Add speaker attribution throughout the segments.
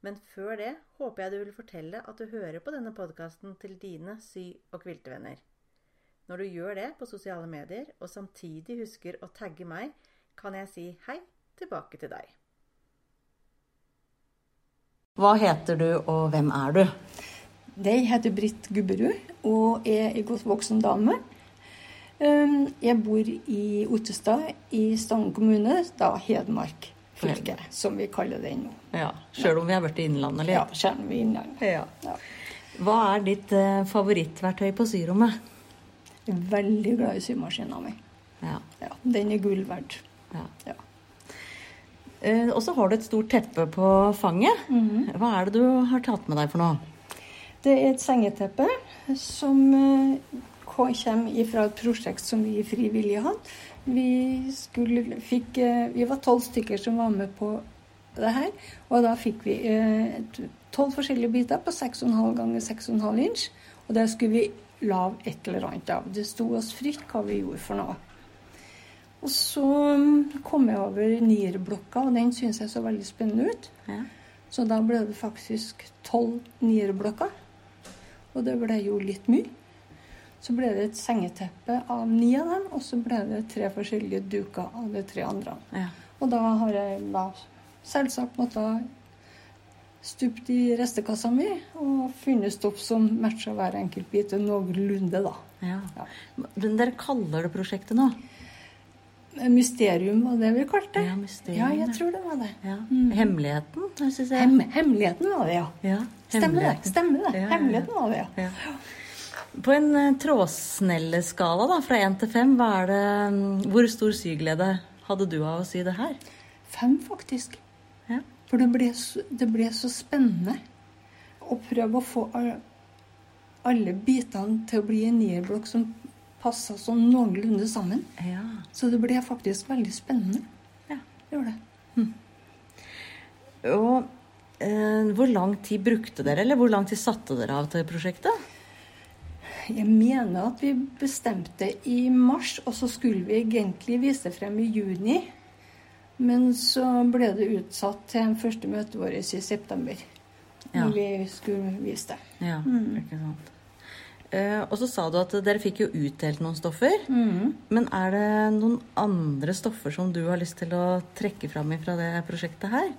Speaker 1: Men før det håper jeg du vil fortelle at du hører på denne podkasten til dine sy- og kviltevenner. Når du gjør det på sosiale medier, og samtidig husker å tagge meg, kan jeg si hei tilbake til deg.
Speaker 2: Hva heter du, og hvem er du?
Speaker 3: Jeg heter Britt Gubberud og er en godt voksen dame. Um, Jeg bor i Ottestad i Stange kommune, da Hedmark fylke, som vi kaller den nå.
Speaker 2: Ja, Sjøl om vi har vært i Innlandet,
Speaker 3: Ja,
Speaker 2: eller?
Speaker 3: kjernen vi innlandet.
Speaker 2: Ja.
Speaker 3: Ja.
Speaker 2: Hva er ditt eh, favorittverktøy på syrommet?
Speaker 3: Jeg er veldig glad i symaskina mi.
Speaker 2: Ja.
Speaker 3: Ja, den er gull verdt.
Speaker 2: ja.
Speaker 3: Ja.
Speaker 2: Eh, og så har du et stort teppe på fanget. Hva er det du har tatt med deg for noe?
Speaker 3: Det er et sengeteppe som eh, kom- kommer fra et prosjekt som vi frivillige hadde. Vi, skulle, fikk, eh, vi var tolv stykker som var med på det her. Og da fikk vi eh, tolv forskjellige biter på 6,5 ganger 6,5 inch. Og det skulle vi lage et eller annet av. Det sto oss fritt hva vi gjorde for noe. Og så mm, kom jeg over nierblokka, og den syns jeg så veldig spennende ut.
Speaker 2: Ja.
Speaker 3: Så da ble det faktisk tolv nierblokker. Og det ble jo litt mye. Så ble det et sengeteppe av ni av dem, og så ble det tre forskjellige duker av de tre andre.
Speaker 2: Ja.
Speaker 3: Og da har jeg da selvsagt måttet stupt i restekassa mi og funnet stoff som matcha hver enkelt bit noenlunde, da.
Speaker 2: Ja.
Speaker 3: Ja.
Speaker 2: Men Dere kaller det prosjektet nå?
Speaker 3: Mysterium var det vi kalte det.
Speaker 2: Ja, mysterium,
Speaker 3: ja,
Speaker 2: ja. Mm.
Speaker 3: jeg tror det var det.
Speaker 2: Ja. Hemmeligheten, syns jeg.
Speaker 3: Hem hemmeligheten var det, ja.
Speaker 2: ja.
Speaker 3: Stemmer det.
Speaker 2: hemmeligheten.
Speaker 3: stemmer det.
Speaker 2: Ja, ja, ja.
Speaker 3: Hemmeligheten var det, ja.
Speaker 2: Ja. På en eh, trådsnelleskala da, fra én til fem, hva er det, mm, hvor stor syglede hadde du av å sy det her?
Speaker 3: Fem, faktisk.
Speaker 2: Ja.
Speaker 3: For det ble, så, det ble så spennende å prøve å få al- alle bitene til å bli en nierblokk som passa sånn noenlunde sammen.
Speaker 2: Ja.
Speaker 3: Så det ble faktisk veldig spennende.
Speaker 2: Ja.
Speaker 3: Det gjorde det.
Speaker 2: Og eh, hvor lang tid brukte dere, eller hvor lang tid satte dere av til prosjektet?
Speaker 3: Jeg mener at vi bestemte i mars, og så skulle vi egentlig vise frem i juni. Men så ble det utsatt til første møtet vårt i september.
Speaker 2: Ja.
Speaker 3: Når vi skulle vise det.
Speaker 2: Ja, ikke sant. Eh, og så sa du at dere fikk jo utdelt noen stoffer. Men er det noen andre stoffer som du har lyst til å trekke fram fra det prosjektet her?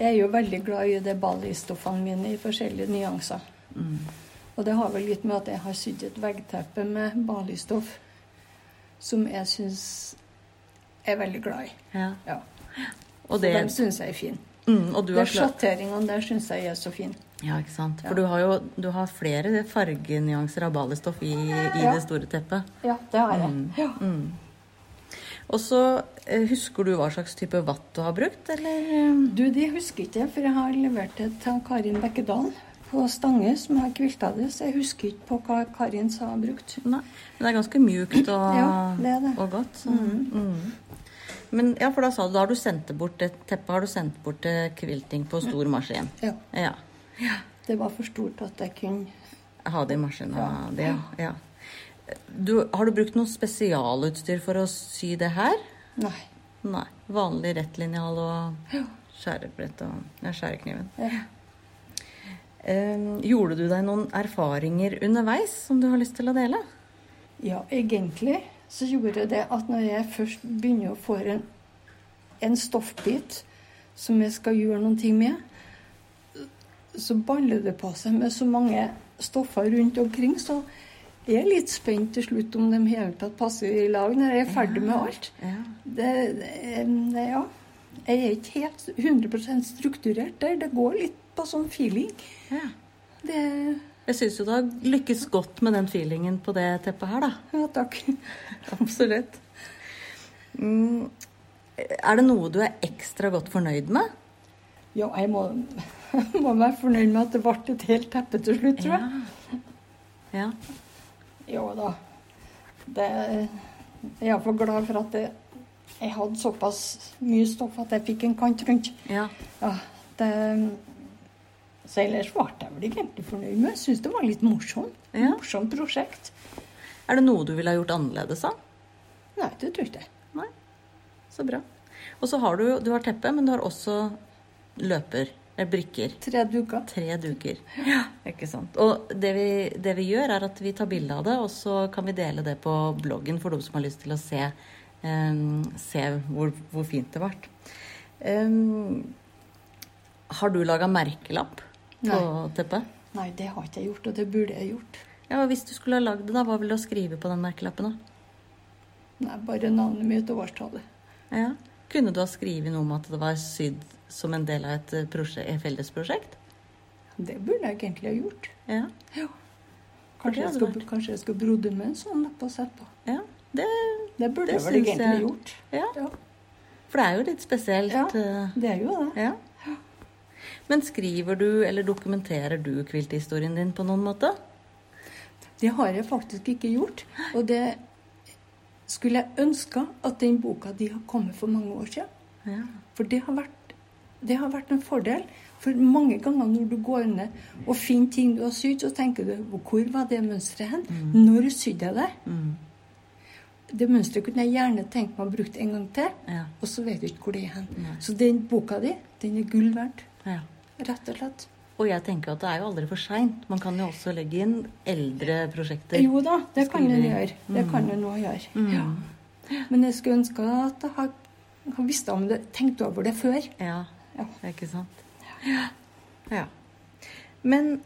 Speaker 3: Jeg er jo veldig glad i de ballistoffene mine i forskjellige nyanser. Og det har vel litt med at jeg har sydd et veggteppe med ballistoff som jeg syns jeg er veldig glad i.
Speaker 2: Ja.
Speaker 3: Ja.
Speaker 2: Og,
Speaker 3: Og det...
Speaker 2: det,
Speaker 3: dem syns jeg er fin.
Speaker 2: mm, og du
Speaker 3: De
Speaker 2: har slå-
Speaker 3: sjatteringene der syns jeg er så fin.
Speaker 2: Ja, ikke sant. For du har jo du har flere fargenyanser av ballestoff i, i
Speaker 3: Ja.
Speaker 2: det store teppet.
Speaker 3: Ja, det har jeg. Ja.
Speaker 2: Og så eh, husker du hva slags type vatt du har brukt, eller?
Speaker 3: Du, det husker ikke jeg, for jeg har levert det til Karin Bekkedal på Stange, som har kvilta det, så jeg husker ikke på hva Karin sa hun brukte.
Speaker 2: Nei. Men det er ganske mjukt og,
Speaker 3: Ja, det er det.
Speaker 2: og godt. Så. Mm. Men ja, for da sa du da har du sendt det bort et teppe har du sendt bort til kvilting på stor maskin.
Speaker 3: Ja.
Speaker 2: Ja.
Speaker 3: Det var for stort at jeg kunne
Speaker 2: Ha det i maskinen. og Det, ja. Du, har du brukt noe spesialutstyr for å sy det her?
Speaker 3: Nei.
Speaker 2: Nei. Vanlig rettlinjal og skjærebrett og ja, skjærekniven.
Speaker 3: Ja.
Speaker 2: Eh, gjorde du deg noen erfaringer underveis som du har lyst til å dele?
Speaker 3: Ja, egentlig så gjorde det at når jeg først begynner å få en, en stoffbit som jeg skal gjøre noe med, så baller det på seg med så mange stoffer rundt omkring, så jeg er litt spent til slutt om de i hele tatt passer i lag når jeg er ferdig med alt.
Speaker 2: Ja.
Speaker 3: Det, det, ja. Jeg er ikke helt 100 strukturert der. Det går litt på sånn feeling.
Speaker 2: ja.
Speaker 3: Det,
Speaker 2: Jeg syns jo du har lykkes godt med den feelingen på det teppet her, da.
Speaker 3: ja, takk.
Speaker 2: Absolutt. Mm. Er det noe du er ekstra godt fornøyd med?
Speaker 3: Ja, jeg må må være fornøyd med at det ble et helt teppe til slutt, tror jeg.
Speaker 2: Ja.
Speaker 3: Jo da. Det, jeg er iallfall glad for at jeg, jeg hadde såpass mye stoff at jeg fikk en kant rundt.
Speaker 2: ja.
Speaker 3: Ja, det, så ellers ble jeg vel ikke egentlig fornøyd med. Jeg syns det var litt morsomt.
Speaker 2: Ja.
Speaker 3: Morsomt prosjekt.
Speaker 2: Er det noe du ville ha gjort annerledes, da?
Speaker 3: Nei, det tror jeg ikke.
Speaker 2: Nei. Så bra. Og så har du jo Du har teppe, men du har også løper. Eller brikker.
Speaker 3: Tre duker.
Speaker 2: Tre duker. Ja. Ikke sant. Og det vi, det vi gjør, er at vi tar bilde av det, og så kan vi dele det på bloggen for de som har lyst til å se, eh, se hvor, hvor fint det ble. Em, har du laga merkelapp på
Speaker 3: Nei.
Speaker 2: teppet?
Speaker 3: Nei, det har ikke jeg gjort, og det burde jeg gjort.
Speaker 2: Ja, og Hvis du skulle ha lagd det, da, hva ville du ha skrevet på den merkelappen? da?
Speaker 3: Nei, bare navnet mitt og årstallet.
Speaker 2: Ja. Kunne du ha skrevet noe om at det var sydd som en del av et eh, prosje- et fellesprosjekt?
Speaker 3: Det burde jeg egentlig ha gjort.
Speaker 2: Ja.
Speaker 3: Ja.
Speaker 2: For det
Speaker 3: Kanskje jeg,
Speaker 2: hadde
Speaker 3: skal, kanskje jeg skal brodde med en sånn lapp og sette på.
Speaker 2: ja. Det,
Speaker 3: Det burde
Speaker 2: Det
Speaker 3: jeg vel
Speaker 2: syns
Speaker 3: egentlig
Speaker 2: jeg-
Speaker 3: gjort.
Speaker 2: ja.
Speaker 3: Ja,
Speaker 2: For det er jo litt spesielt.
Speaker 3: Ja.
Speaker 2: eh,
Speaker 3: det er jo det.
Speaker 2: Ja. Men skriver du eller dokumenterer du kvilthistorien din på noen måte?
Speaker 3: Det har jeg faktisk ikke gjort. Og det skulle jeg ønske at den boka de har kommet for mange år siden.
Speaker 2: Ja.
Speaker 3: For det har vært, det har vært en fordel. For mange ganger når du går ned og finner ting du har sydd, så tenker du hvor var det mønsteret hen? Når sydde jeg det?
Speaker 2: Mm,
Speaker 3: Det mønsteret kunne jeg gjerne tenkt meg å bruke en gang til,
Speaker 2: Ja.
Speaker 3: og så vet du ikke hvor det er hen.
Speaker 2: Nei.
Speaker 3: Så den boka di, den er gull verdt,
Speaker 2: ja.
Speaker 3: rett og slett.
Speaker 2: Og jeg tenker at det er jo aldri for seint. Man kan jo også legge inn eldre prosjekter.
Speaker 3: Jo da, det kan en
Speaker 2: Skriver.
Speaker 3: gjøre. Det kan en nå gjøre. Ja. Men jeg skulle ønske at jeg har, har visst om det, tenkt over det før.
Speaker 2: Ja,
Speaker 3: Ja.
Speaker 2: ikke sant? Ja. Men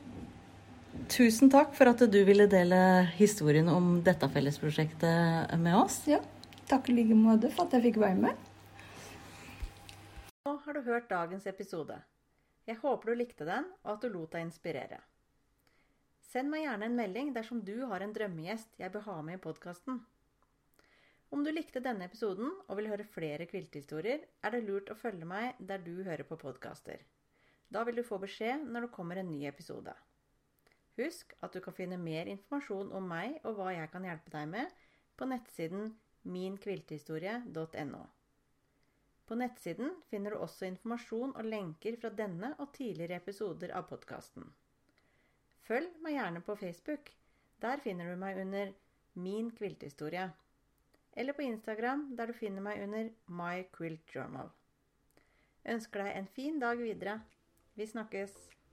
Speaker 2: tusen takk for at du ville dele historien om dette fellesprosjektet med oss.
Speaker 3: Ja, takk i like måte for at jeg fikk være med.
Speaker 1: Nå har du hørt dagens episode. Jeg håper du likte den, og at du lot deg inspirere. Send meg gjerne en melding dersom du har en drømmegjest jeg bør ha med i podkasten. Om du likte denne episoden og vil høre flere kviltehistorier, er det lurt å følge meg der du hører på podkaster. Da vil du få beskjed når det kommer en ny episode. Husk at du kan finne mer informasjon om meg og hva jeg kan hjelpe deg med på nettsiden minkviltehistorie.no. På nettsiden finner du også informasjon og lenker fra denne og tidligere episoder av podkasten. Følg meg gjerne på Facebook. Der finner du meg under Min kvilthistorie. Eller på Instagram, der du finner meg under My Quilt Journal. Ønsker deg en fin dag videre. Vi snakkes!